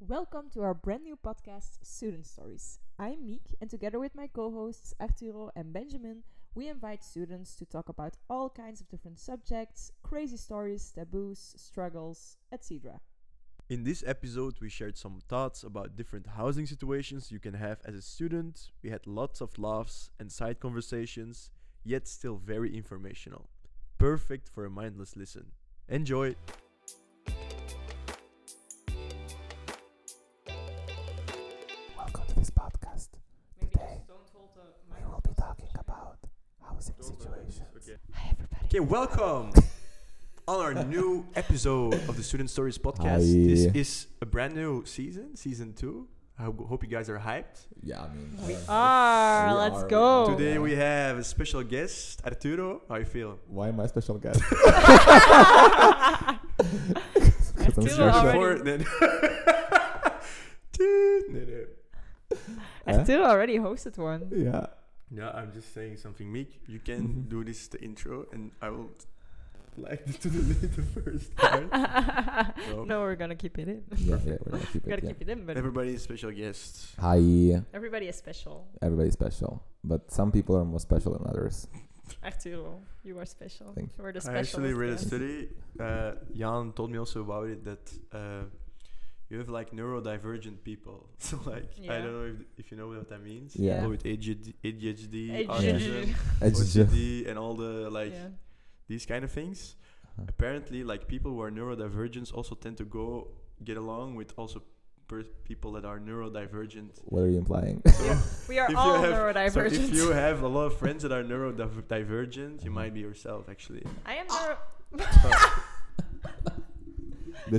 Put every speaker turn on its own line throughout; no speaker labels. Welcome to our brand new podcast, Student Stories. I'm Meek, and together with my co hosts Arturo and Benjamin, we invite students to talk about all kinds of different subjects, crazy stories, taboos, struggles, etc.
In this episode, we shared some thoughts about different housing situations you can have as a student. We had lots of laughs and side conversations, yet still very informational. Perfect for a mindless listen. Enjoy!
Welcome to this podcast.
Maybe
Today,
just don't hold the
We
microphone.
will be talking
situation.
about housing situations.
Okay,
Hi, everybody.
okay welcome on our new episode of the Student Stories podcast.
Hi.
This is a brand new season, season two. I ho- hope you guys are hyped.
Yeah, I mean, uh,
We are.
We
Let's
are.
go.
Oh.
Today we have a special guest, Arturo. How you feel?
why am I special guest?
Arturo
sure
Before-
already,
then- Dude, nee, nee.
Arturo already hosted one.
yeah.
No, I'm just saying something, Meek. You can
Mhm.
do this the intro, and I will like to do the, the first part. Well.
no, we're gonna keep it in.
yeah, yeah, we're gonna keep
We gotta
it. Yeah.
keep it in, but
Everybody, special guest.
Hi,
everybody is special.
everybody's special, but some people are more special than others.
Arturo, you are special.
Thank
We're the
I
special.
actually read a study. Uh, Jan told me also about it that uh, you have like neurodivergent people. So like, I
Yeah.
don't know if, if you know what that means.
Yeah.
People with ADHD, ADHD, autism,
Yeah.
Oh,
It's just,
OCD, and all the like
Yeah.
these kind of things.
Uh-huh.
Apparently, like people who are neurodivergent also tend to go get along with also per- people that are neurodivergent.
what are you implying?
We are
Oh. If you
all
have- So
neurodivergent.
if you have a lot of friends that are neurodivergent, you might be yourself actually.
I am neuro.
the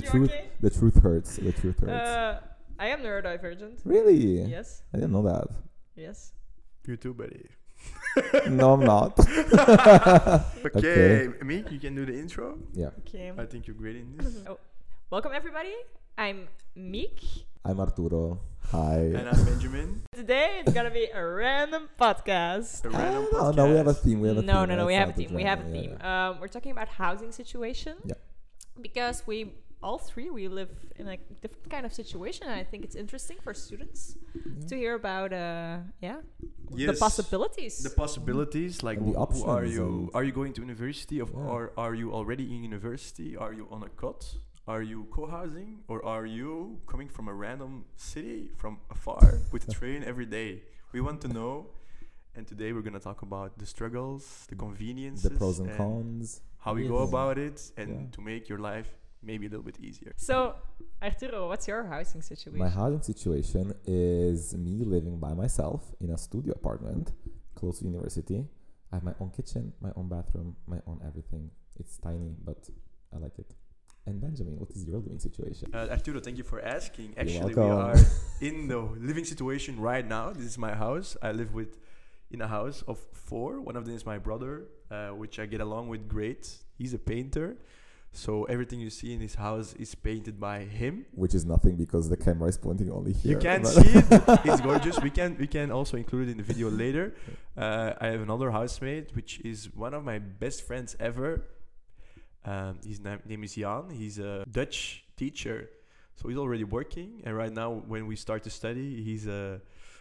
You
truth,
okay?
the truth hurts. The truth hurts.
Uh, I am neurodivergent.
really?
Yes.
I didn't know that.
Yes.
You too, buddy.
no, I'm not.
okay, me, you can do the intro.
Yeah,
Okay.
I think you're great in this.
Oh, welcome everybody. I'm Meek.
I'm Arturo.
And
Hi.
I'm Benjamin.
Today it's gonna be a random podcast.
A random
Oh no, we have a
podcast.
theme. We have a
no,
theme.
no, no. We
That's
have a
not the
theme. We have a
genre, yeah,
theme.
yeah.
Um, we're talking about housing situation.
Yeah.
Because we all three we live in a different kind of situation, and I think it's interesting for students
Yeah.
to hear about, uh, yeah,
Yes.
the possibilities.
The possibilities, like
And the
wh- who are
options
you?
and-
Are you going to university, of,
Yeah.
or are you already in university? Are you on a cot? Are you co-housing, or are you coming from a random city from afar with a train every day? We want to know, and today we're gonna talk about the struggles, the conveniences,
the pros and
and
cons.
how we go
Everything.
about it, and
Yeah.
to make your life maybe a little bit easier.
so, Arturo, what's your housing situation?
My housing situation is me living by myself in a studio apartment close to university. I have my own kitchen, my own bathroom, my own everything. It's tiny, but I like it. And Benjamin, what is your living situation?
Uh, Arturo, thank you for asking. Actually, we
welcome.
are in the living situation right now. This is my house. I live with in a house of four. One of them is my brother, uh, which I get along with great. He's a painter, so everything you see in his house is painted by him.
Which is nothing because the camera is pointing only here.
You can't
but-
see it. but It's gorgeous. We can we can also include it in the video later. Uh, I have another housemate, which is one of my best friends ever. Um, his na- name is Jan. He's a Dutch teacher, so he's already working. And right now, when we start to study, he's uh,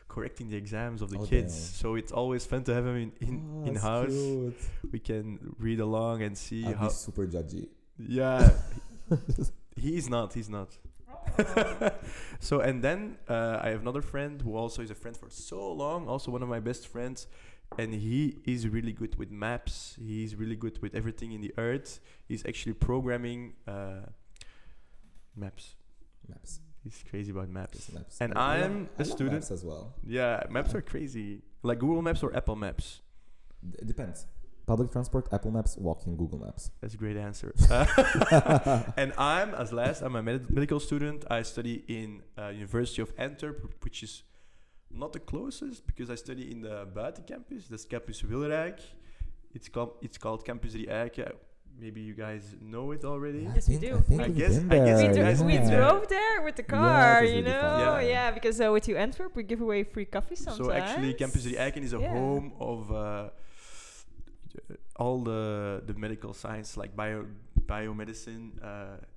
correcting the exams of the
Oh,
kids.
damn.
So it's always fun to have him in in,
Ah,
in
that's
house.
cute.
We can read along and see
I'd be
how.
super judgy.
Yeah, he's not. He's not. so and then uh, I have another friend who also is a friend for so long, also one of my best friends, and he is really good with maps. He's really good with everything in the earth. He's actually programming uh, maps.
Maps.
He's crazy about maps.
Just maps.
And
I love-
I'm
I
a
love
student-
maps as well.
Yeah, maps are crazy. Like Google Maps or Apple Maps.
D- It depends. Public transport, Apple Maps, walking, Google Maps.
That's a great answer. Uh, and I'm, as last, I'm a med- medical student. I study in uh, University of Antwerp, which is not the closest because I study in the buiten campus. That's campus Wilrijk. It's called it's called campus Rijke. Maybe you guys know it already.
Yes, we
think-
do.
I think
I
we've
guess-
been
I guess
we,
there,
do-
dro- we
yeah.
drove there with the
Yeah,
car,
it was
you
really
know?
fun.
Yeah,
Yeah.
because uh, with you Antwerp, we give away free coffee sometimes.
So actually, campus Rijken is a
Yeah.
home of uh, all the the medical science, like bio biomedicine, uh,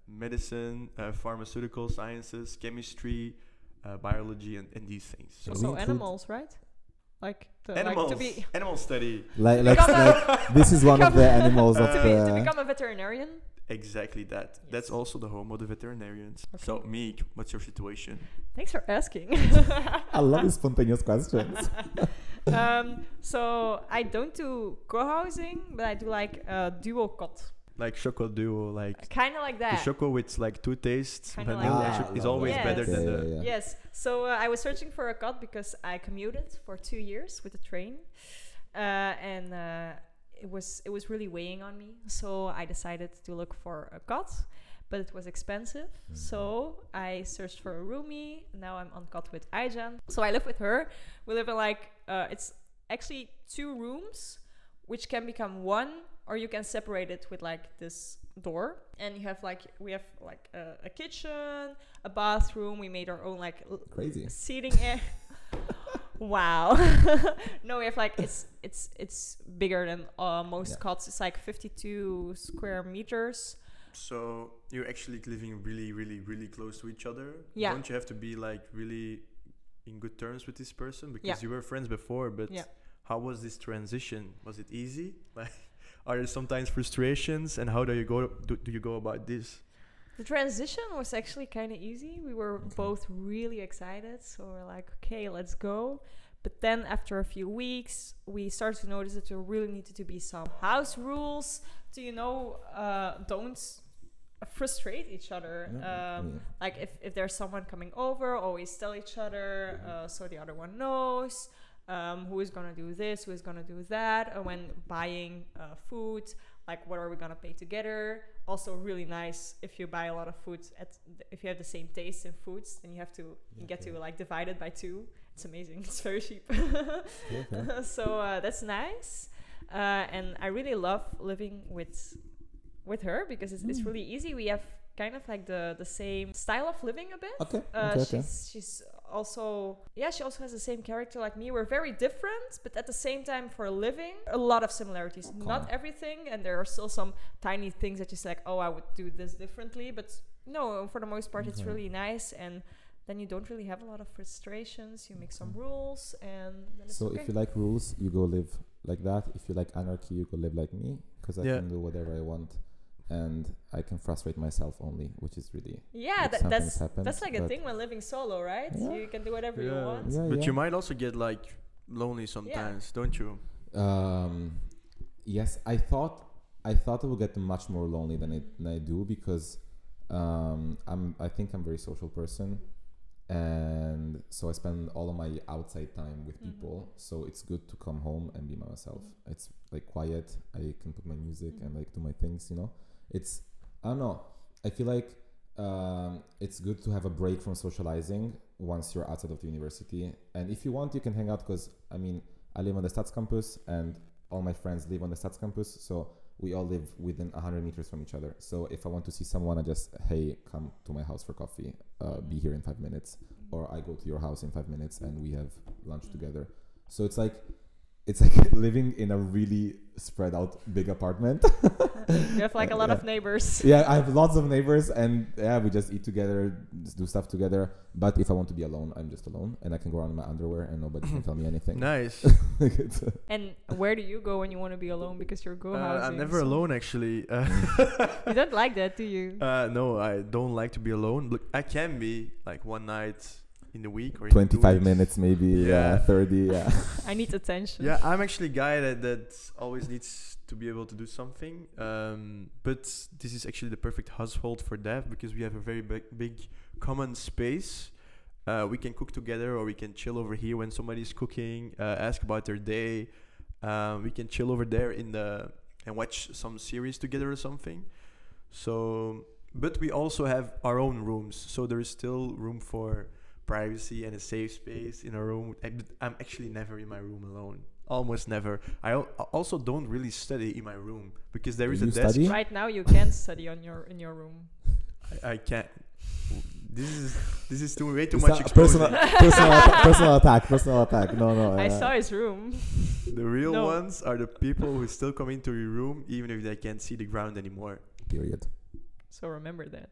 medicine, uh, pharmaceutical sciences, chemistry, uh, biology, and, and these things. So
we
Also
include-
animals, right? Like the,
animals,
like to be
animal study.
Like, like, uh, like this is one of the animals of
to, be, to
the.
become a veterinarian.
Exactly that. That's also the home of the veterinarians. So,
Okay.
Meek, what's your situation?
Thanks for asking.
I love these spontaneous questions.
um, so I don't do co-housing, but I do like uh, dual cot,
Like choco duo, like
kind of like
the
that.
choco with like two tastes,
Kinda like
vanilla and
that.
choc-
Ah,
is
love
always
that.
better
Yes.
than
Yeah,
the.
yeah, yeah.
Yes. So uh, I was searching for a cot because I commuted for two years with the train, uh, and uh, it was it was really weighing on me. So I decided to look for a cot, but it was expensive. So I searched for a roomie. Now I'm on cot with Aijan. So I live with her. We live in like uh, it's actually two rooms, which can become one, or you can separate it with like this door. And you have like we have like a, a kitchen, a bathroom. We made our own like l-
Crazy.
seating area. wow. no, we have like it's it's it's bigger than uh, most
Yeah.
cots. It's like 52 square meters.
So you're actually living really, really, really close to each other.
Yeah.
Don't you have to be like really in good terms with this person because
Yeah.
you were friends before? But
Yeah.
how was this transition? Was it easy? Like, are there sometimes frustrations, and how do you go? Do, do you go about this?
The transition was actually kind of easy. We were both really excited, so we're like, okay, let's go. But then after a few weeks, we started to notice that there really needed to be some house rules to, you know, uh, don't frustrate each other.
Yeah,
Um,
yeah.
like if, if there's someone coming over always tell each other uh, so the other one knows um, who is gonna do this who is gonna do that and when buying uh, food like what are we gonna pay together also really nice if you buy a lot of food at if you have the same taste in foods then you have to you get to like divide it by two it's amazing it's very cheap
Yeah, yeah.
so uh, that's nice uh, and i really love living with with her because it's, it's really easy we have kind of like the the same style of living a bit
Okay.
uh,
okay, okay.
she's she's also yeah she also has the same character like me we're very different but at the same time for a living a lot of similarities not
Okay.
everything and there are still some tiny things that she's like oh i would do this differently but no for the most part it's
Okay.
really nice and then you don't really have a lot of frustrations you make some
Okay.
rules and then it's
So
okay.
if you like rules, you go live like that. If you like anarchy, you go live like me because I
Yeah.
can do whatever I want, and I can frustrate myself only, which is really
yeah
Like
that,
something's
that's
happened,
that's like a
but-
thing when living solo right
Yeah.
you can do whatever you want
Yeah,
but
yeah.
you might also get like lonely sometimes, don't you?
Um, yes, I thought I thought I would get much more lonely than, it, than I do because um, I'm I think I'm a very social person, and so I spend all of my outside time with
Mhm.
people. So it's good to come home and be by myself. It's like quiet. I can put my music and like do my things. You know, it's I don't know. I feel like um, it's good to have a break from socializing once you're outside of the university. And if you want, you can hang out because I mean, I live on the Stats campus and all my friends live on the Stats campus. So we all live within 100 meters from each other. So if I want to see someone, I just, hey, come to my house for coffee, uh, be here in five minutes. Or I go to your house in five minutes and we have lunch together. So it's like, it's like living in a really spread out big apartment.
you have like a lot
Yeah.
of neighbors
yeah, I have lots of neighbors, and yeah, we just eat together, just do stuff together. But if I want to be alone, I'm just alone, and I can go around in my underwear, and nobody can tell me anything.
Nice.
It's, uh,
And where do you go when you want to be alone because you're go
Uh, I'm
housing?
never
so-
alone actually. Uh,
You don't like that, do you?
uh, no, I don't like to be alone. Look, I can be like one night in the week or in two
25
weeks.
minutes, maybe
Yeah.
yeah, 30. Yeah,
I need attention.
Yeah, I'm actually a guy that, that always needs to be able to do something. Um, but this is actually the perfect household for that because we have a very big, big common space. Uh, we can cook together or we can chill over here when somebody's cooking, uh, ask about their day. Um, we can chill over there in the and watch some series together or something. So, but we also have our own rooms, so there is still room for privacy and a safe space in a room. I- but I'm actually never in my room alone. Almost never. I al- also don't really study in my room because there is a
You
desk.
study?
Right now you can study on your in your room.
I, I can't. This is this is too way too
It's
much
a personal,
exposure.
personal, atta- personal attack, personal attack. No, no, uh,
I
Oh, yeah.
saw his room.
The real
No.
ones are the people who still come into your room even if they can't see the ground anymore.
Period.
So remember that.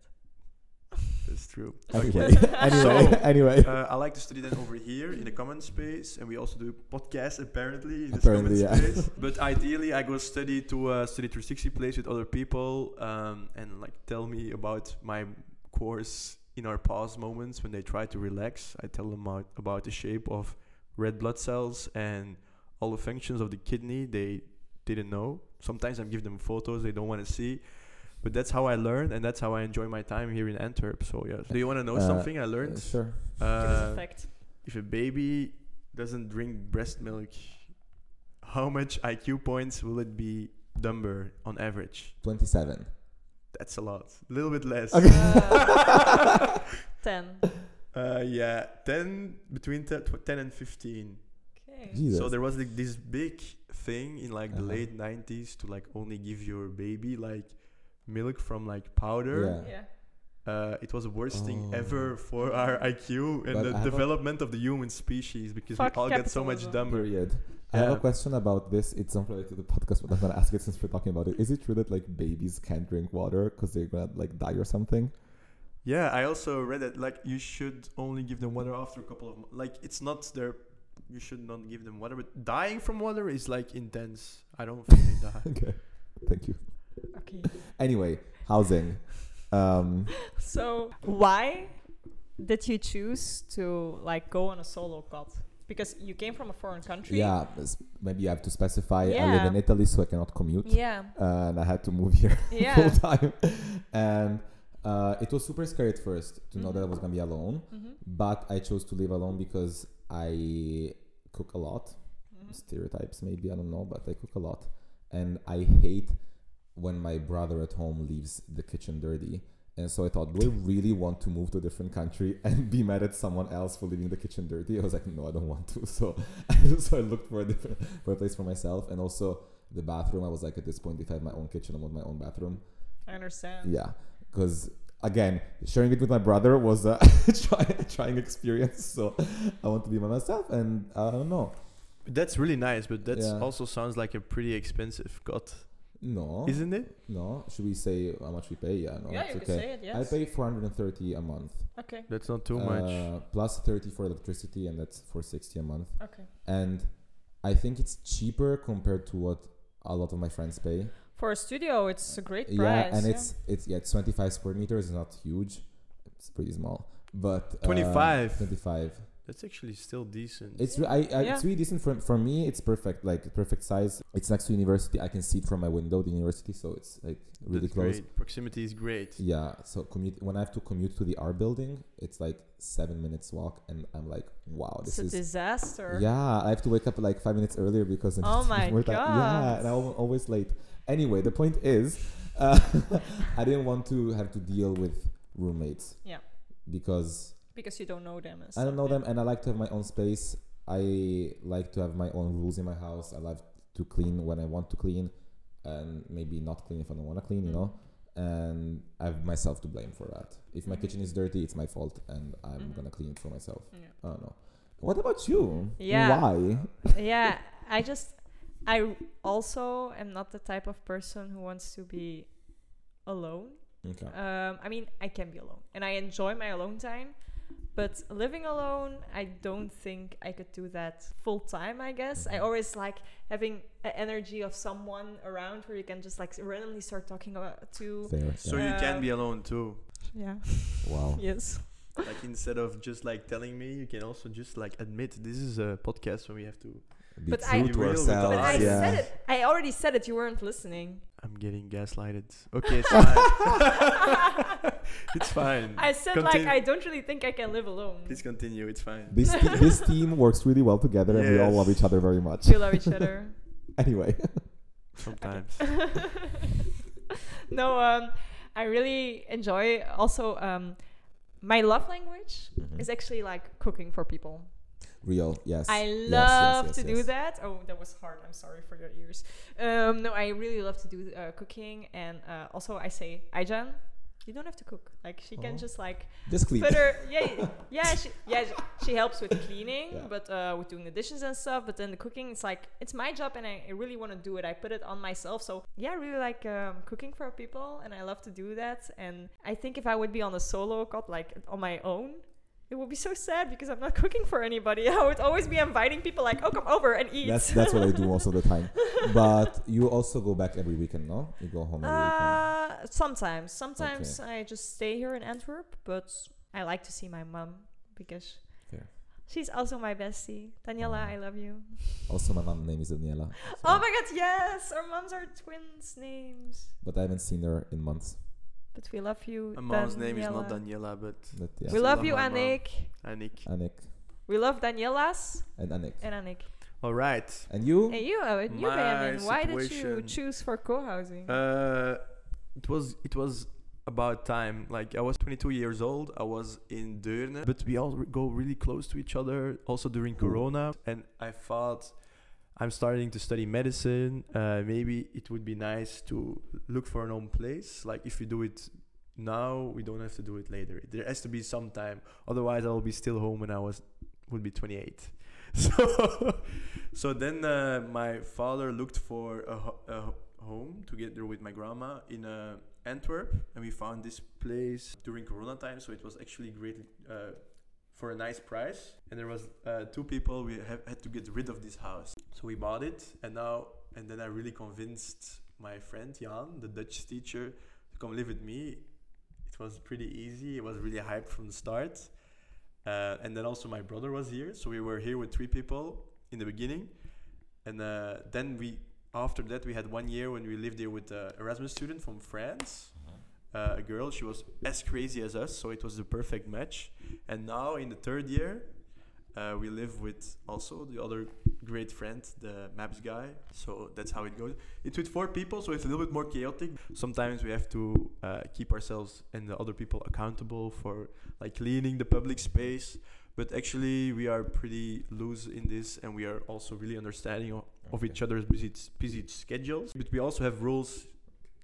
That's true.
Anyway,
Okay.
anyway,
So,
anyway.
Uh, I like to study that over here in the comment space, and we also do podcasts apparently in this
Apparently,
comment
yeah.
space. But ideally, I go study to uh, study 360 place with other people um, and like tell me about my course in our pause moments when they try to relax. I tell them about, about the shape of red blood cells and all the functions of the kidney they didn't know. Sometimes I give them photos they don't want to see. But that's how I learn, and that's how I enjoy my time here in Antwerp. So yes. Do you want to know
Uh,
something I learned?
sure.
Give us
Uh,
a fact.
if a baby doesn't drink breast milk, how much IQ points will it be dumber on average?
27.
That's a lot. A little bit less.
Uh, Ten.
Uh, yeah, 10, between te- tw- 10 and 15.
Okay.
Jesus.
So there was like this big thing in like the
Uh-huh.
late 90s to like only give your baby like milk from like powder.
Yeah.
Yeah.
Uh, it was the worst thing
Oh.
ever for our IQ and
But
the
I have a-
development of the human species because
Fuck
we all get so much
capitalism.
dumber.
Period. I have a
Um, Yeah.
question about this. It's not related to the podcast, but I'm gonna ask it since we're talking about it. Is it true that like babies can't drink water because they're gonna like die or something?
Yeah, I also read that like you should only give them water after a couple of mo- like it's not their you should not give them water, but dying from water is like intense. I don't think they die.
Okay, thank you.
Okay.
Anyway, housing. Um,
So why did you choose to like go on a solo cut? Because you came from a foreign country.
yeah, s- maybe you have to specify. I live
Yeah.
in Italy, so I cannot commute,
Yeah.
and I had to move here full
Yeah.
time. And uh, it was super scary at first to know that I was gonna be alone,
Mhm.
but I chose to live alone because I cook a lot.
Mhm.
stereotypes maybe i don't know but i cook a lot and i hate when my brother at home leaves the kitchen dirty and so i thought do i really want to move to a different country and be mad at someone else for leaving the kitchen dirty i was like no i don't want to so so i looked for a different for a place for myself and also the bathroom i was like at this point if i had my own kitchen i want my own bathroom
I understand.
yeah because again sharing it with my brother was a try, trying experience so i want to be by myself and i don't know
That's really nice, but that
Yeah.
also sounds like a pretty expensive cut,
no
isn't it?
No, should we say how much we pay? Yeah, no,
yeah,
it's
you could
okay.
say it. Yes.
I pay 430 a month.
okay.
That's not too much.
Uh, plus 30 for electricity, and that's 460 a month.
Okay.
And I think it's cheaper compared to what a lot of my friends pay.
For a studio, it's a great price.
yeah, and it's it's yeah, it's 25 square meters. It's not huge. It's pretty small, but uh,
25.
25.
That's actually still decent.
It's re- I, I
Yeah.
it's really decent for for me. It's perfect, like perfect size. It's next to university. I can see it from my window, the university. So it's like really
That's
close.
great. Proximity is great.
Yeah, so commute when I have to commute to the R building, it's like seven minutes walk, and I'm like, wow,
It's
this
a
is.
disaster.
Yeah, I have to wake up like five minutes earlier because I'm
Oh my
more time. Yeah,
God.
and I'm al- always late. Anyway, the point is, uh, I didn't want to have to deal with roommates.
Yeah.
Because
Because you don't know them. and
I don't
stuff,
know
yeah.
them, and I like to have my own space. I like to have my own rules in my house. I love to clean when I want to clean, and maybe not clean if I don't want to clean.
Mm.
You know, and I have myself to blame for that. If my
Mhm.
kitchen is dirty, it's my fault, and I'm
Mhm.
gonna clean it for myself.
Yeah.
I don't know. What about you?
Yeah.
Why?
yeah i just i r- also am not the type of person who wants to be alone
Okay.
um, i mean i can be alone and i enjoy my alone time but living alone i don't think i could do that full time i guess i
Mhm.
always like having an energy of someone around where you can just like s- randomly start talking about to
Fair.
So
yeah.
you can
Um,
be alone too.
yeah
wow.
yes
Like instead of just like telling me, you can also just like admit this is a podcast when we have to.
Be
But
true
I-
to
Real with
ourselves.
but i
us.
yeah.
said it i already said it you weren't listening
I'm getting gaslighted. Okay, it's fine. it's fine.
i said like
Continue.
i don't really think i can live alone
Please continue. It's fine.
This, te- this team works really well together, and we all love
Yes.
each other very much.
we love each other
Anyway.
Sometimes.
no, um, I really enjoy also um, my love language
Mhm.
is actually like cooking for people.
Real, yes.
I
Yes, yes,
love
yes,
to do
yes.
that. Oh, that was hard. I'm sorry for your ears. Um, no, I really love to do uh, cooking, and uh, also I say Aijan You don't have to cook. Like she
Oh.
can just like
Just clean.
put her. Yeah, yeah, she, yeah. She, she helps with cleaning,
Yeah.
but uh, with doing the dishes and stuff. But then the cooking, it's like it's my job, and I, I really want to do it. I put it on myself. So yeah, I really like um, cooking for people, and I love to do that. And I think if I would be on a solo cut, like on my own. It would be so sad because I'm not cooking for anybody. I would always be inviting people like, "Oh, come over and eat."
That's that's what I do most of the time. But you also go back every weekend, no? You go home every
Uh,
weekend.
sometimes. Sometimes I just stay here in Antwerp, but I like to see my mom because
Fair.
she's also my bestie. Daniela,
Aw.
I love you.
Also, my mom's name is Daniela.
Oh my god, yes! Our moms are twins' names.
But I haven't seen her in months.
But we love you.
My mom's name is
Daniela.
not Daniela, but
But yeah,
We
Still
love
love
you,
my mom.
Annick.
Annick.
Anik
We love Daniela's
and Anik.
and Annick.
All right.
And you?
And you, uh, you
My
Benjamin, why did you
situation.
choose for co-housing?
Uh, it was it was about time. Like I was 22 years old. I was in Deurne, but we all re- go really close to each other. Also during Corona, and I thought I'm starting to study medicine. Uh, maybe it would be nice to look for an own place. Like if we do it now, we don't have to do it later. There has to be some time. Otherwise, I will be still home when I was would be 28. So, so then uh, my father looked for a, ho- a ho- home together with my grandma in uh, Antwerp, and we found this place during Corona time. So it was actually great uh, for a nice price. And there was uh, two people we ha- had to get rid of this house, so we bought it. And now and then I really convinced my friend Jan, the Dutch teacher, to come live with me. It was pretty easy. It was really hyped from the start. Uh, and then also my brother was here, so we were here with three people in the beginning, and uh, then we after that we had one year when we lived here with a Erasmus student from France, uh, a girl. She was as crazy as us, so it was the perfect match. And now in the third year, uh, we live with also the other great friend, the Maps guy. So that's how it goes. It's with four people, so it's a little bit more chaotic. Sometimes we have to uh, keep ourselves and the other people accountable for like cleaning the public space. But actually, we are pretty loose in this, and we are also really understanding o- of each other's busy, busy schedules. But we also have rules.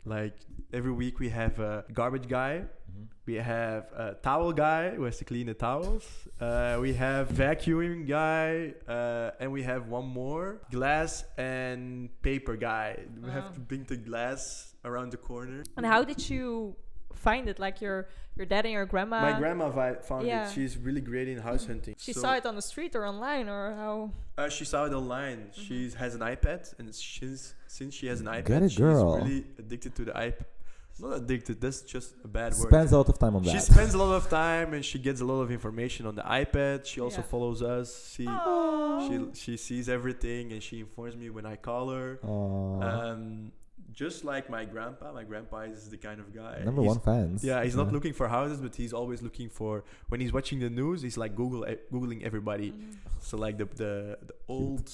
Like every week, we have a garbage guy
Mhm.
we have a towel guy who has to clean the towels. Uh, we have vacuum guy, uh, and we have one more glass and paper guy. We have
Wow.
to bring the glass around the corner.
and how did you find it? Like your your dad and your grandma?
My grandma vi- found
yeah.
it. She's really great in house hunting.
She
So-
saw it on the street or online or how?
Uh, she saw it online. She has an iPad, and since since she has an iPad,
Get it, girl.
she's really addicted to the iPad. Not addicted. That's just a bad word.
Spends a lot of time on
She
that.
spends a lot of time and she gets a lot of information on the iPad. She also
Yeah.
follows us. She, she
Oh.
she sees everything and she informs me when I call her.
Aw.
Um, just like my grandpa, my grandpa is the kind of guy.
Number
he's-
one fans.
Yeah, he's not looking for houses, but he's always looking for. When he's watching the news, he's like Google e- googling everybody.
Mm-hmm.
So like the the, the old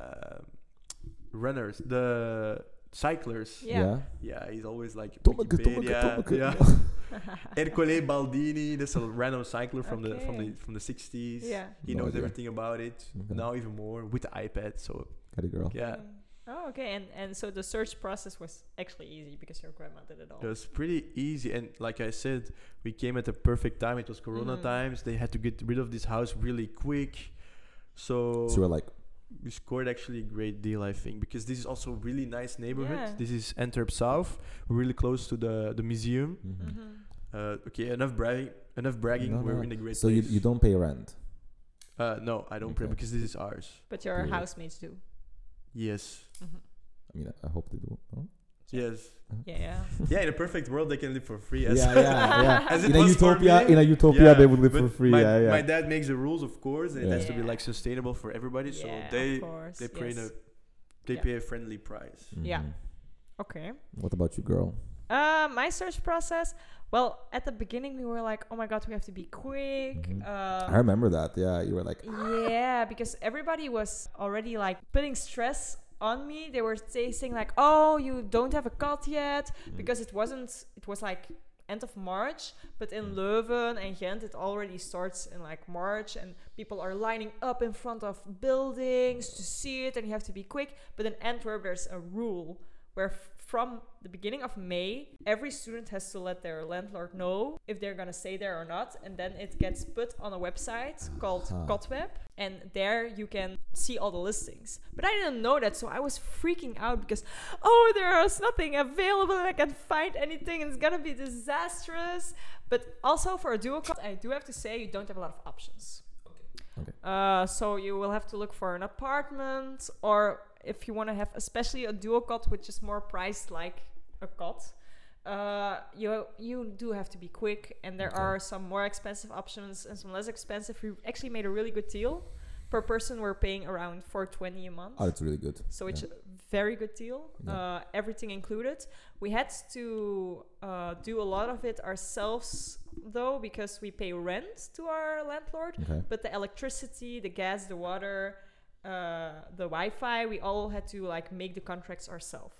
um, runners, the cyclers.
Yeah.
Yeah, he's always like
Tommeke,
Wikipedia,
tommeke, tommeke.
Yeah. Ercole Baldini, that's a random cycler from the from
Okay.
the from the 60s.
yeah.
He
No
knows
idea.
everything about it.
Okay.
Now even more with the iPad. So
Got it, girl.
yeah,
Mm. Oh, okay. And and so the search process was actually easy because your grandma did it all.
it was pretty easy. And like I said, we came at the perfect time. It was Corona
Mhm.
times. They had to get rid of this house really quick. So
So we're like,
we scored actually a great deal, I think, because this is also a really nice neighborhood.
Yeah.
This is Antwerp South, really close to the the museum.
mhm.
Mhm.
Uh, okay, enough bragging. Enough bragging.
No,
We're
no.
in a great
so you,
place.
you don't pay rent.
Uh, no, I don't pray
Okay.
because this is ours.
But your
Yeah.
housemates do.
Yes.
Mhm.
I mean, I hope they do. no?
Yes.
Yeah, yeah.
yeah, in a perfect world, they can live for free. As
Yeah, yeah, yeah.
As it
in a
was for
utopia,
me,
in a utopia,
yeah,
they would live
but
for free.
My,
yeah, yeah.
my dad makes the rules, of course, and it
Yeah.
has to be
Yeah.
like sustainable for everybody. So
Yeah, of
they
course,
they pay
yes.
a they
Yeah.
pay a friendly price.
Yeah.
Mhm.
Okay.
What about you, girl?
Uh, my search process. Well, at the beginning we were like, oh my god, we have to be quick.
Mm-hmm.
Mhm. I
Um,
remember that. Yeah, you were like,
yeah, because everybody was already like putting stress on me. They were say- saying like, "Oh, you don't have a cut yet,"
Mm.
because it wasn't. It was like end of March, but in Leuven and Ghent, it already starts in like March, and people are lining up in front of buildings to see it, and you have to be quick. But in Antwerp, there's a rule where f- from the beginning of May, every student has to let their landlord know if they're gonna stay there or not, and then it gets put on a website called
Aha.
Cotweb, and there you can see all the listings. But I didn't know that, so I was freaking out because, oh, there is nothing available, and I can't find anything, and it's gonna be disastrous. But also for a dual cot, I do have to say you don't have a lot of options.
Okay.
Uh, so you will have to look for an apartment, or if you want to have, especially a dual cot, which is more priced like a cot. Uh, you you do have to be quick, and there
Okay.
are some more expensive options and some less expensive. We actually made a really good deal. Per person, we're paying around 420 a month.
Oh, it's really good.
So it's
Yeah.
a very good deal,
Yeah.
uh, everything included. We had to uh, do a lot of it ourselves, though, because we pay rent to our landlord.
Okay.
But the electricity, the gas, the water, uh, the Wi-Fi, we all had to like make the contracts ourselves.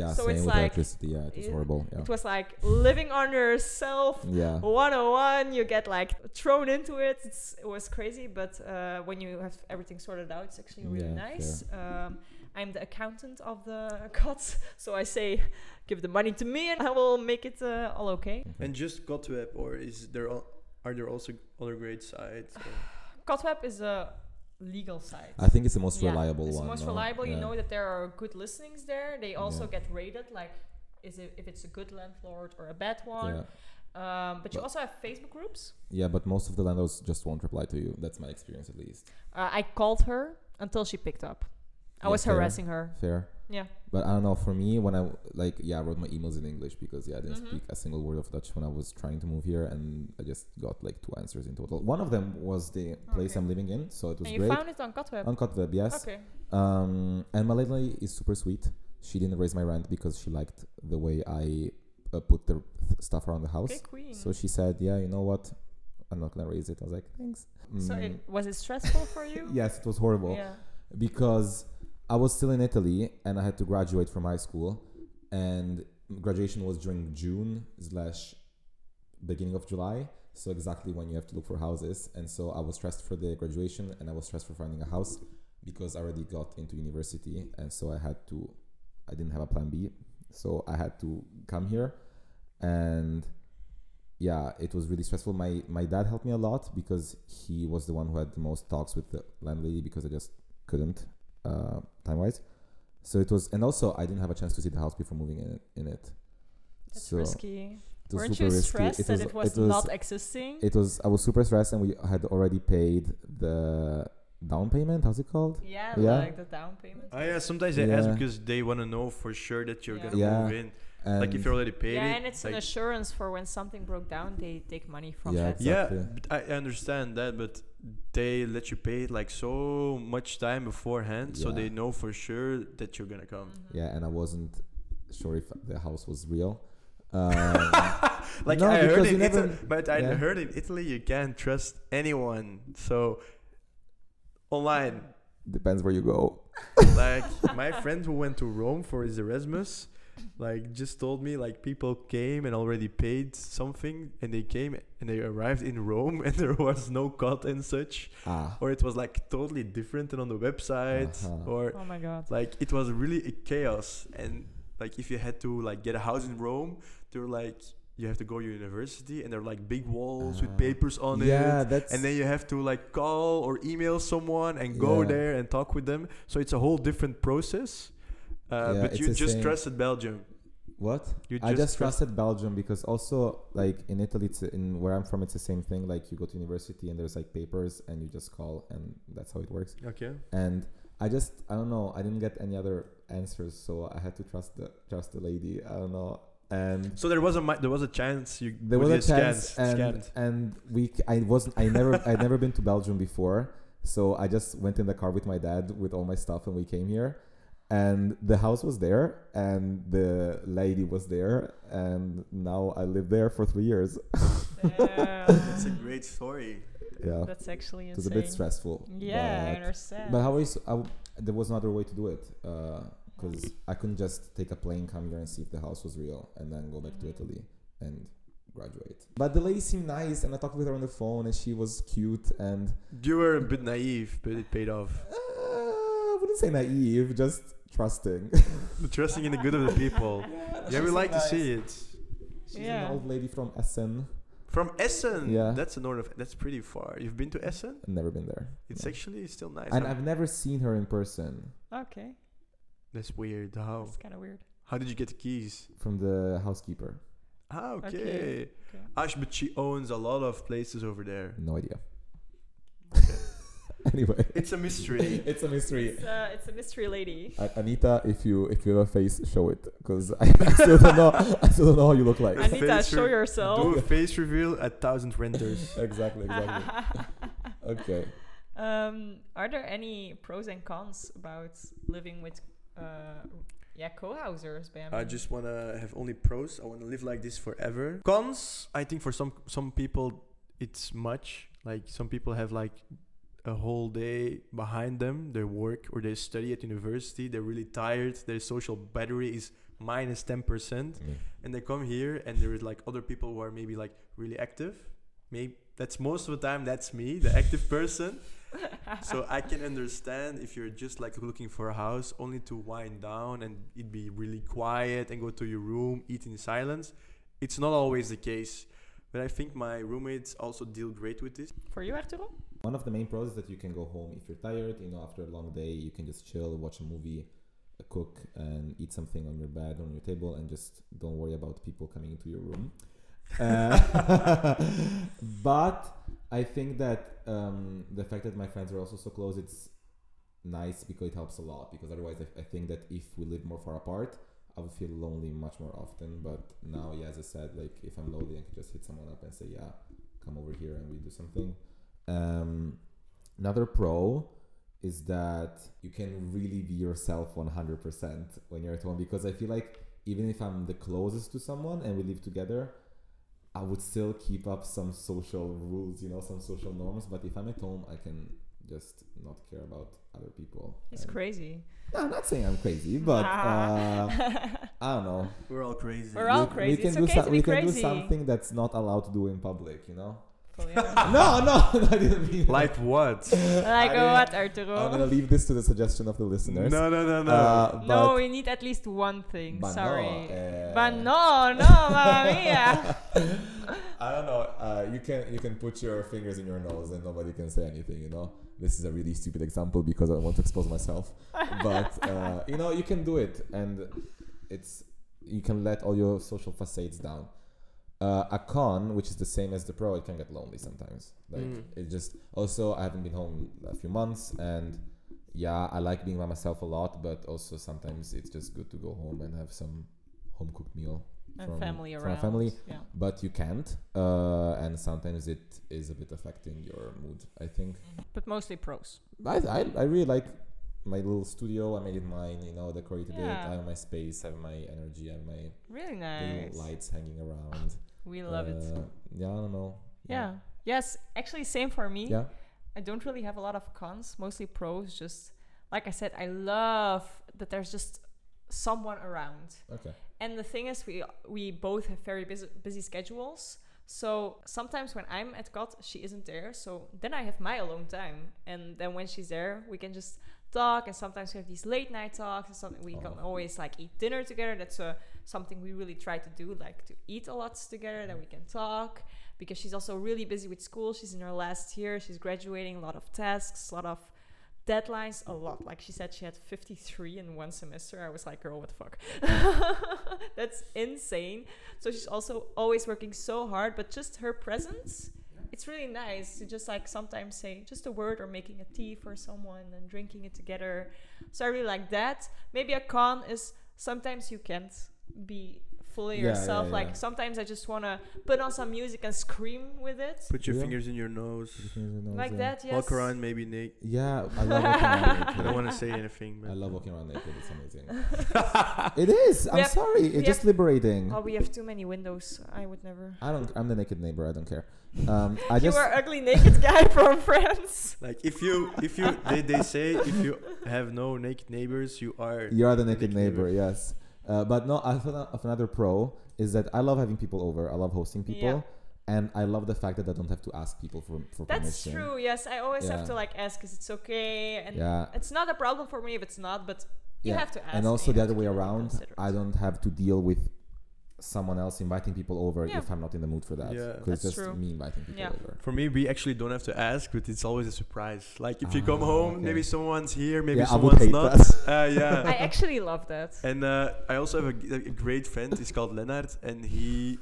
Yeah,
So
same
it's
with
like-
electricity. Yeah, it was
Yeah.
horrible. Yeah.
It was like living on yourself.
yeah.
101 you get like thrown into it it's, it was crazy but uh, when you have everything sorted out it's actually really
Yeah,
nice um, i'm the accountant of the cots so i say give the money to me and i will make it uh, all okay
Okay.
And just Gotweb, or is there al- are there also other great sites? or-
cotweb is a legal site
I think it's the most
Yeah,
reliable
it's
one.
the most
no?
reliable you
Yeah.
know that there are good listings there they also
Yeah.
get rated like is it, if it's a good landlord or a bad
Yeah.
one um, but you
But-
also have facebook groups
yeah, but most of the landlords just won't reply to you. That's my experience, at least.
uh, i called her until she picked up i
Yeah,
was
fair.
harassing her
Fair.
Yeah.
But I don't know. For me, when I like, yeah, I wrote my emails in English because yeah, I didn't
Mhm.
speak a single word of Dutch when I was trying to move here, and I just got like two answers in total. One of them was the place
Okay.
I'm living in, so it was
And you
great.
found it on Cotweb.
Uncut web, yes.
Okay.
Um, and my landlady is super sweet. She didn't raise my rent because she liked the way I uh, put the th- stuff around the house.
Okay, queen.
So she said, "Yeah, you know what? I'm not gonna raise it." I was like, "Thanks."
So
Mm,
it, was it stressful for you?
yes, it was horrible
Yeah.
because I was still in Italy and I had to graduate from high school, and graduation was during June slash beginning of July, so exactly when you have to look for houses. And so I was stressed for the graduation and I was stressed for finding a house because I already got into university, and so I had to, I didn't have a plan B, so I had to come here, and yeah, it was really stressful. My my dad helped me a lot because he was the one who had the most talks with the landlady because I just couldn't uh, time wise. So it was, and also I didn't have a chance to see the house before moving in in it.
That's
so
risky.
it was
Weren't
super
you
risky.
stressed
It was,
that it was, not existing?
It was. I was super stressed, and we had already paid the down payment. How's it called?
yeah,
Yeah.
like the down payment.
Ah, yeah. Sometimes they ask
Yeah.
because they want to know for sure that you're
Yeah.
gonna
Yeah.
move in.
And
like if you already paid
yeah,
it.
and it's an
like-
assurance for when something broke down, they take money from
Yeah,
that.
exactly.
Yeah, but I I understand that, but they let you pay it, like so much time beforehand, so
Yeah.
they know for sure that you're gonna come.
yeah, and I wasn't sure if the house was real. Um,
Mm-hmm.
Like
No,
I heard
because
in
you never-
Italy, but I
yeah.
heard in Italy you can't trust anyone. So online,
depends where you go.
like my friend who went to Rome for his Erasmus, like just told me like people came and already paid something, and they came and they arrived in Rome and there was no cut and such.
Ah,
or it was like totally different than on the website
Uh-huh.
or
Oh my god.
like it was really a chaos and like if you had to like get a house in rome they're like you have to go to university and there are like big walls
Ah.
with papers on
yeah,
it
that's
and then you have to like call or email someone and go
Yeah.
there and talk with them so it's a whole different process uh,
Yeah,
but
it's
you
the
just
same.
trusted belgium
what
you
I just trusted Belgium because also like in Italy, it's, in where I'm from, it's the same thing. Like you go to university and there's like papers, and you just call, and that's how it works.
okay
and I just I don't know I didn't get any other answers so I had to trust the trust the lady I don't know and
so there was a mi- there was a chance you
there
would
was
get
a
scanned-
chance and
scanned.
and we c- I wasn't I never I'd never been to Belgium before so I just went in the car with my dad with all my stuff and we came here and the house was there and the lady was there and now I live there for three years
That's a
Damn.
great story
yeah
That's actually insane.
it was a bit stressful
Yeah, I
but-
understand.
But how is I w- there was another way to do it because I couldn't just take a plane, come here, and see if the house was real, and then go back
Mhm.
to Italy and graduate. But the lady seemed nice, and I talked with her on the phone, and she was cute, and
you were a bit naive but it paid off
uh, I wouldn't say naive, just trusting.
The trusting in the good of the people. yeah, we like to see it.
She's
Yeah.
an old lady from Essen.
From Essen.
Yeah.
That's the north of. That's pretty far. You've been to Essen?
I've never been there.
It's
No.
actually still nice.
and
I'm-
I've never seen her in person
Okay.
that's weird. How?
That's kind of weird.
How did you get the keys?
from the housekeeper.
Ah, okay.
Okay. Okay.
Ash, but she owns a lot of places over there.
No idea.
Okay.
anyway,
it's a mystery.
it's a mystery.
It's, uh, it's a mystery lady.
A- Anita, if you if you have a face, show it because I, I still don't know I still don't know how you look like.
I-
Anita,
face
show
re-
yourself.
Do a face reveal at thousand renters.
exactly, exactly. okay.
Um, are there any pros and cons about living with, uh, yeah, co-housers? Bam.
I just wanna have only pros. I wanna live like this forever. Cons, I think for some some people it's much. Like some people have like a whole day behind them. They work or they study at university. They're really tired. Their social battery is minus ten percent. and they come here and there is like other people who are maybe like really active maybe that's most of the time that's me the active person so i can understand if you're just like looking for a house only to wind down and it be really quiet and go to your room eat in silence it's not always the case but i think my roommates also deal great with this
for you, Arturo.
One of the main pros is that you can go home if you're tired. You know, after a long day, you can just chill, watch a movie, uh, cook, and eat something on your bed, on your table, and just don't worry about people coming into your room. Uh, but I think that um, the fact that my friends are also so close, it's nice because it helps a lot. Because otherwise, I, I think that if we live more far apart, I would feel lonely much more often. But now, yeah, as I said, like if I'm lonely, I can just hit someone up and say, "Yeah, come over here and we do something." Um, another pro is that you can really be yourself 100% when you're at home because I feel like even if I'm the closest to someone and we live together, I would still keep up some social rules, you know, some social norms. But if I'm at home, I can just not care about other people.
He's
And-
crazy.
No, I'm not saying I'm crazy, but uh, I don't know.
we're all crazy
We're all
We-
crazy.
We can
It's
do
okay to be
we can do
crazy.
something that's not allowed to do in public, you know.
Polyamorous.
no, no, no, I didn't mean
like what
like
I-
oh, what,
I'm gonna
Arturo?
leave this to the suggestion of the
no
listeners.
no no no
Uh, but,
No, we need at least one thing.
but no,
Sorry.
uh,
but no, no, mamma mia.
I don't know. Uh, you can you can put your fingers in your nose and nobody can say anything. You know, this is a really stupid example because I don't want to expose myself. But uh, you know, you can do it, and it's you can let all your social facades down. Uh, a con, which is the same as the pro, it can get lonely sometimes. Like
Mm.
it just also I haven't been home a few months, and yeah, I like being by myself a lot, but also sometimes it's just good to go home and have some home cooked meal.
and
from-
family
from
around.
family.
Yeah.
but you can't uh, and sometimes it is a bit affecting your mood i think
But mostly pros.
i, I, I really like my little studio i made it mine you know decorated
Yeah.
it i have my space i have my energy i have my
Really
little
nice.
lights hanging around
We love it.
Uh, yeah i don't know
Yeah. Yes, actually, same for me.
yeah
I don't really have a lot of cons, mostly pros. Just like I said, I love that there's just someone around.
okay
And the thing is, we we both have very busy, busy schedules. So sometimes when I'm at God, she isn't there. So then I have my alone time. And then when she's there, we can just talk. And sometimes we have these late night talks. And something we can
Oh.
always like eat dinner together. That's a, something we really try to do, like to eat a lot together. Then we can talk because she's also really busy with school. She's in her last year. She's graduating. A lot of tasks. A lot of deadlines a lot. Like she said, she had 53 in one semester. I was like, girl, what the fuck? That's insane. So she's also always working so hard, but just her presence, it's really nice to just like sometimes say just a word or making a tea for someone and drinking it together. So I really like that. Maybe a con is sometimes you can't be fully
Yeah, yeah,
yourself.
yeah.
Like sometimes I just want to put on some music and scream with it.
put your
Yeah.
fingers in your nose
Like that, yes.
walk around maybe nick
yeah i love walking around
i don't
naked
want to say anything but
i love walking around naked it's amazing it is i'm
have-
sorry
we
it's just
have-
liberating
Oh, we have too many windows. I would never.
i don't i'm the naked neighbor i don't care um, i just
you are ugly naked guy from France.
Like if you if you they, they say if you have no naked neighbors you are
You are the naked
Naked
neighbor,
neighbor.
yes. Uh, but no, I thought of another pro is that I love having people over. I love hosting people,
Yeah.
and I love the fact that I don't have to ask people for for
That's
permission.
true. Yes, I always
Yeah.
have to like ask, is it's okay? And
Yeah,
it's not a problem for me if it's not, but You
Yeah,
have to ask.
and also
you
the
have
other
to
way
be really
around
considerate.
i don't have to deal with someone else inviting people over
Yeah.
if i'm not in the mood for that
Yeah.
because
That's
it's just
true.
me inviting people
Yeah.
over
For me, we actually don't have to ask, but it's always a surprise. Like if you come
Ah,
home,
okay.
maybe someone's here, maybe
Yeah, I would
someone's
hate
not. Uh, yeah.
I actually love that.
And uh, I also have a, g- a great friend. He's called Leonard, and he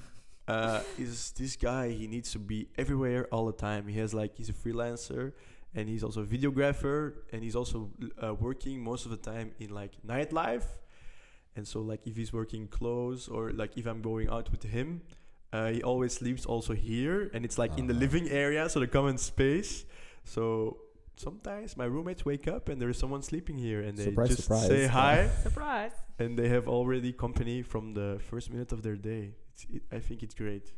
uh, is this guy. He needs to be everywhere all the time. He has like he's a freelancer, and he's also a videographer, and he's also uh, working most of the time in like nightlife. And so like if he's working close or like if I'm going out with him, uh, he always sleeps also here, and it's like in the
Ah.
living area, so the common space. So. Sometimes my roommates wake up and there is someone sleeping here, and they
Surprise,
just
surprise.
say hi
Surprise.
and they have already company from the first minute of their day. It's, it, I think it's great.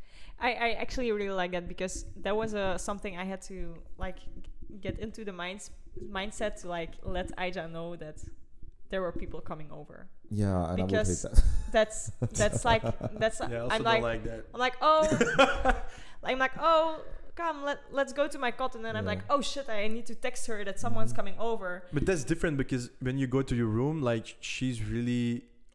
I, I actually really like that because that was uh, something I had to like g- get into the minds mindset to like let Aija know that there were people coming over.
yeah and i would hate
Because
that
That's that's like that's
Yeah, I also
I'm
don't
like,
like, that.
I'm like oh I'm like oh come let let's go to my cot and then I'm
Yeah.
like oh shit I need to text her that someone's coming over.
But that's different because when you go to your room, like she's really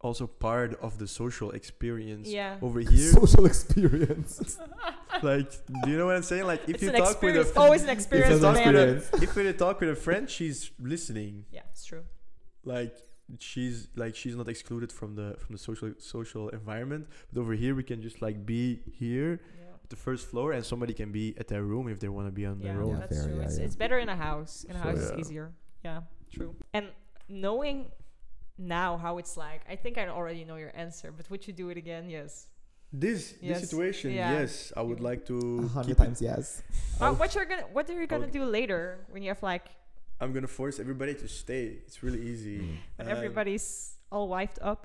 also part of the social experience.
Yeah.
Over here,
social experience
like, do you know what I'm saying? Like, if
it's
you
an
talk with
experience,
a
always an
if you
experience,
talk
an
man.
with
experience.
a if you talk with a friend, she's listening.
Yeah, it's true.
Like, she's like she's not excluded from the from the social social environment. But over here, we can just like be here,
Yeah,
the first floor, and somebody can be at their room if they want to be on their
Yeah,
own.
Yeah,
that's
fair,
true.
yeah,
it's,
yeah.
it's better in a house. In a
Sure.
house
Yeah.
it's easier. Yeah, true. And knowing now how it's like, I think I already know your answer. But would you do it again? Yes.
This
Yes.
this situation,
Yeah.
yes, I would like to.
a hundred
keep it-
times yes
Uh,
I'll-
what you're gonna What are you gonna
I'll-
do later when you have like
I'm gonna force everybody to stay. It's really easy.
Mm.
when
Um,
everybody's all wifed up?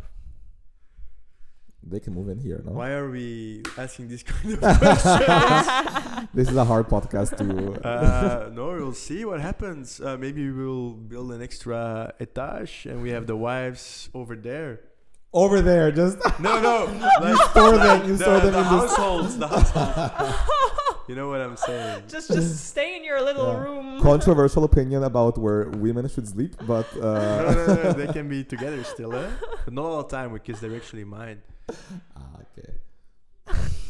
they can move in here no
Why are we asking this kind of questions?
this is a hard podcast to
uh, no, we'll see what happens. Uh, maybe we'll build an extra etage, and we have the wives over there.
over there just
No, no, like,
store
like
them you
the,
store them
the
in this
households, the households. you know what I'm saying?
just just stay in your little
Yeah.
room.
controversial opinion about where women should sleep but
No,
uh
no, no, they can be together still, eh? But not all the time because they're actually mine.
Ah, okay.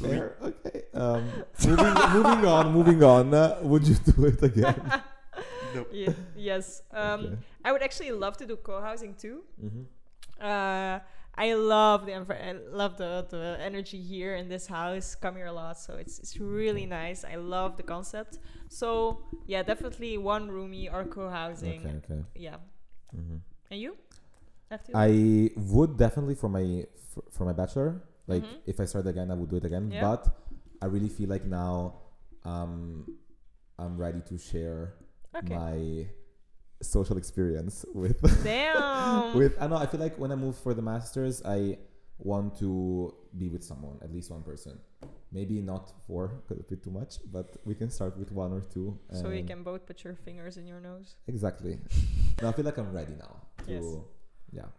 Fair. Okay. Um, moving, moving on. Moving on. Uh, would you do it again?
Nope.
Ye- yes. Um,
Okay.
I would actually love to do co-housing too.
Mhm.
Uh, I love the env- I love the, the energy here in this house. Come here a lot, so it's it's really nice. I love the concept. So yeah, definitely one roomy or co-housing.
Okay. Okay.
Yeah,
Mhm.
and you? After
I would definitely for my for, for my bachelor. Like,
Mhm.
if I start again, I would do it again.
Yeah.
But I really feel like now, um, I'm ready to share
okay.
my social experience with
Damn.
with I know I feel like when I move for the masters I want to be with someone at least one person maybe not four because it's a bit too much but we can start with one or two
so you
and-
can both put your fingers in your nose.
exactly now I feel like I'm ready now to
Yes.
yeah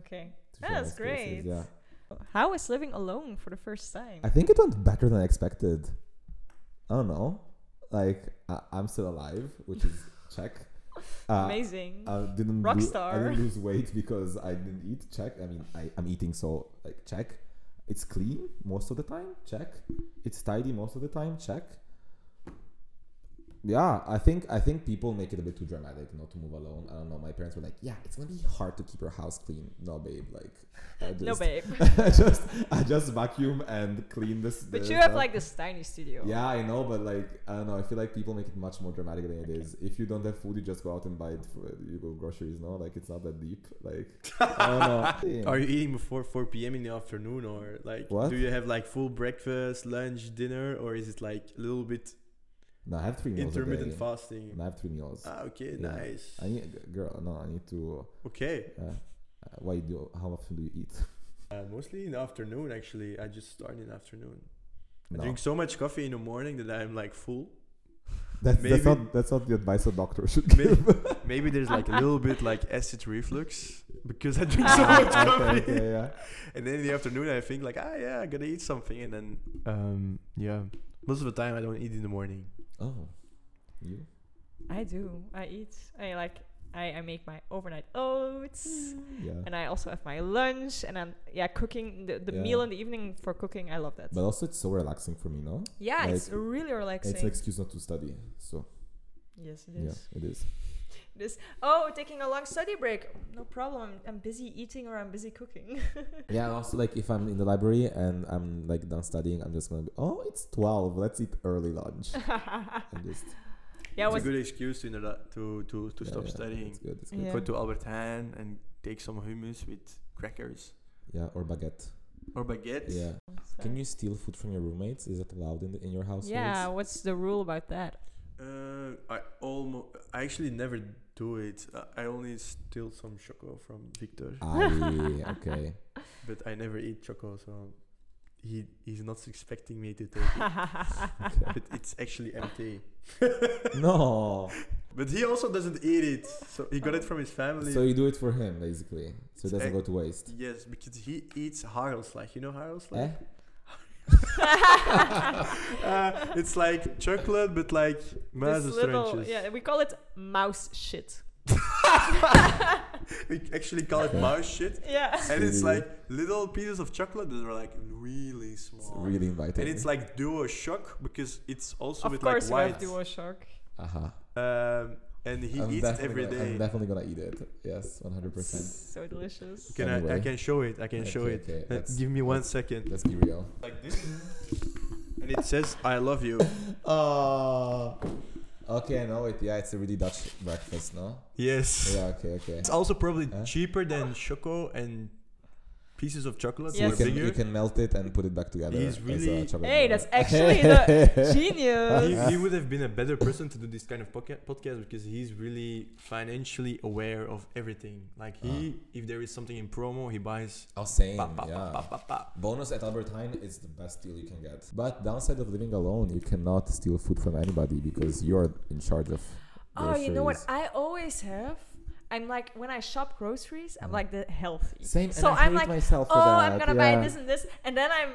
Okay.
to
That's
share my experiences,
great.
yeah
How is living alone for the first time?
I think it went better than expected I don't know like I- I'm still alive which is check uh,
Amazing.
I didn't
Rock
lo-
star.
I didn't lose weight because I didn't eat. Check. I mean, I, I'm eating, so like check. It's clean most of the time. Check. It's tidy most of the time. Check. Yeah, I think I think people make it a bit too dramatic not to move alone. I don't know. My parents were like, "Yeah, it's gonna be hard to keep your house clean." No, babe. Like, I just,
no, babe.
I just I just vacuum and clean this.
but
the
you have
stuff.
like this tiny studio.
Yeah, I know, but like I don't know. I feel like people make it much more dramatic than it is. If you don't have food, you just go out and buy it. For, you go groceries, no? Like it's not that deep. Like I don't know.
Are you eating before 4 p.m. in the afternoon or like
What?
do you have like full breakfast, lunch, dinner or is it like a little bit
no, I have three meals a
intermittent
day.
fasting?
And I have three meals.
Ah, okay,
Yeah.
nice.
I need, g- girl, no, I need to.
Okay.
Uh, uh, why do? How often do you eat?
Uh, mostly in the afternoon actually. I just start in the afternoon. I
No,
drink so much coffee in the morning that I'm like full.
that's,
maybe-
that's not that's not the advice a doctor should
May-
give.
Maybe there's like a little bit like acid reflux because I drink so much
Ah, okay,
coffee.
okay, yeah.
And then in the afternoon I think like, ah yeah, I gotta eat something and then um yeah. Most of the time I don't eat in the morning.
Oh, you?
I do. I eat. I like I, I make my overnight oats
Yeah.
and I also have my lunch and I'm yeah cooking the, the
Yeah.
meal in the evening for cooking. I love that.
But also, it's so relaxing for me, no?
yeah, it's
like,
really relaxing.
It's an excuse not to study. So,
yes, it
yeah,
is.
it is.
This oh, taking a long study break. No problem. I'm busy eating or I'm busy cooking.
Yeah, and also, like, if I'm in the library and I'm, like, done studying, I'm just gonna be, oh, it's 12. Let's eat early lunch. and just,
yeah,
it's a
was
good excuse to interla- to to, to
yeah,
stop
yeah,
studying.
It's good. It's good.
Yeah.
Go to Albert Heijn and take some hummus with crackers
Yeah. or baguette.
or baguettes.
Yeah. Can you steal food from your roommates? Is that allowed in, the, in your house?
Yeah, what's the rule about that?
Uh, I almost, I actually never do it. I- I only steal some choco from Victor,
Ah. Aye, okay.
but I never eat choco, so he he's not expecting me to take it. but it's actually empty.
No.
But he also doesn't eat it, so he got it from his family.
So you do it for him, basically. So it
It's
doesn't
ec-
go to waste.
yes, because he eats Harelslag. You know Harelslag?
Eh?
uh, it's like chocolate, but like
this little,
muizenstruintjes.
yeah, we call it mouse shit.
We actually call it
Okay.
mouse shit.
Yeah.
And it's
Really?
like little pieces of chocolate that are like really
It's
small.
really inviting.
and it's like duo shock because it's also
Of
with
course, we
like
have
white.
DualShock.
Aha.
Um, and he
I'm
eats it
definitely
every
gonna, I'm
day.
definitely gonna eat it. Yes, 100%.
So delicious.
Can I, I
Anyway.
can show it. I can show
Okay,
it.
okay,
Uh,
let's-
give me one
let's-
second.
Let's be real.
Like this. And it says I love you.
Oh. Okay, no, it, yeah, it's a really Dutch breakfast, no?
Yes.
Yeah, okay, okay.
It's also probably
Huh?
cheaper than choco and pieces of chocolate.
So you,
Yes.
Yes.
can,
Bigger.
you can melt it and put it back together.
He's
as a
really-
chocolate
Hey,
bar.
that's actually the genius.
he, he would have been a better person to do this kind of podca- podcast because he's really financially aware of everything. Like he, if there is something in promo, he buys.
Oh, same,
Pa, pa,
Uh-huh. yeah.
pa, pa, pa, pa.
Bonus at Albert Heijn is the best deal you can get. But downside of living alone, you cannot steal food from anybody because you're in charge of.
Oh, you know what
groceries.
I always have? I'm like when I shop groceries, I'm
Mm.
like the healthy.
Same.
So
and I
I'm
hate
like,
myself for
oh,
that.
I'm gonna
yeah.
buy this and this, and then I'm,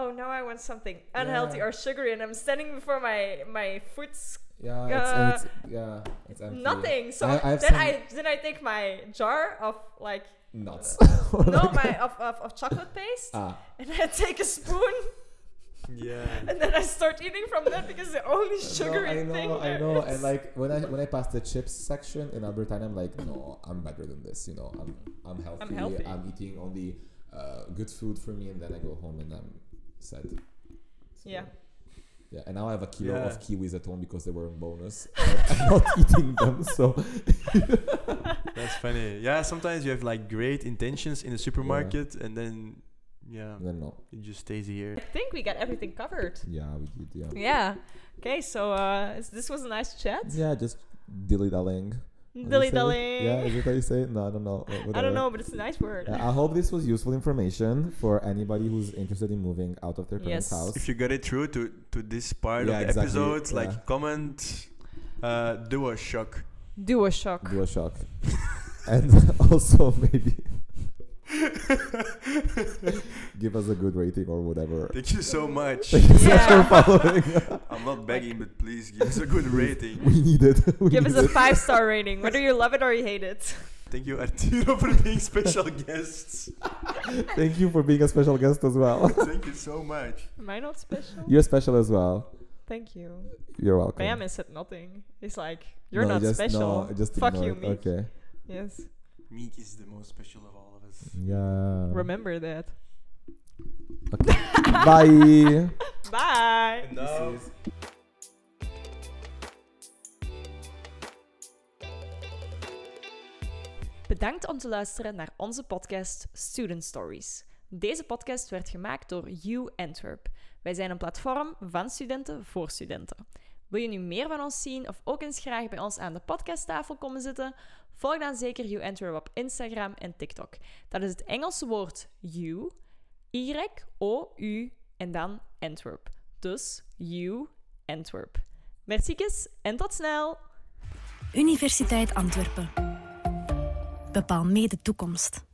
oh no, I want something unhealthy
Yeah.
or sugary, and I'm standing before my my food's
Yeah, it's,
Uh,
it's yeah, it's empty.
nothing. So
I- I have
then
some-
I then I take my jar of like
nuts.
no my of, of, of chocolate paste,
ah,
and I take a spoon,
Yeah.
and then I start eating from that because the only sugary
no, I know,
thing.
I
there
know,
is.
and like when I when I pass the chips section in Albertine, I'm like, no, I'm better than this. You know, I'm I'm healthy.
healthy.
I'm eating only uh, good food for me, and then I go home and I'm sad. So,
Yeah.
Yeah, and now I have a kilo
Yeah.
of kiwis at home because they were in bonus. and I'm not eating them, so
That's funny. Yeah, sometimes you have like great intentions in the supermarket and then yeah,
then no.
it just stays here.
I think we got everything covered.
Yeah, we did.
Yeah.
Yeah.
Okay, so uh, is- this was a nice chat.
Yeah, just dilly dallying.
Dilly dallying.
Yeah, is it how you say it? No, I don't know. Wha-
I
whatever.
don't know, but it's a nice word.
Uh, I hope this was useful information for anybody who's interested in moving out of their
Yes.
parents' house.
If you got it through to, to this part
Yeah,
of the
exactly,
episode,
yeah.
like comment, uh, do a shock.
Do a shock.
Do a shock. and also maybe give us a good rating or whatever.
Thank you so much.
Yeah.
For following.
I'm not begging, but please give us a good rating.
we need it. We
Give
need
us a five star rating, whether you love it or you hate it.
Thank you, Arturo, for being special guests.
it. Thank you for being a special guest as well.
Thank you so much.
Am I not special?
You're special as well.
Thank you.
You're welcome.
Bam has said nothing. He's like, you're
No,
not
just,
special.
No, just
Fuck
ignore
you,
it.
me.
Okay.
Yes.
Meek is the most special of all of us.
Yeah.
Remember that.
Bye.
Bye.
No.
Bedankt om te luisteren naar onze podcast Student Stories. Deze podcast werd gemaakt door U Antwerp. Wij zijn een platform van studenten voor studenten. Wil je nu meer van ons zien of ook eens graag bij ons aan de podcasttafel komen zitten? Volg dan zeker U Antwerp op Instagram en TikTok. Dat is het Engelse woord U, Y, O, U en dan Antwerp. Dus U Antwerp. Merciekes en tot snel!
Universiteit Antwerpen. Bepaal mee de toekomst.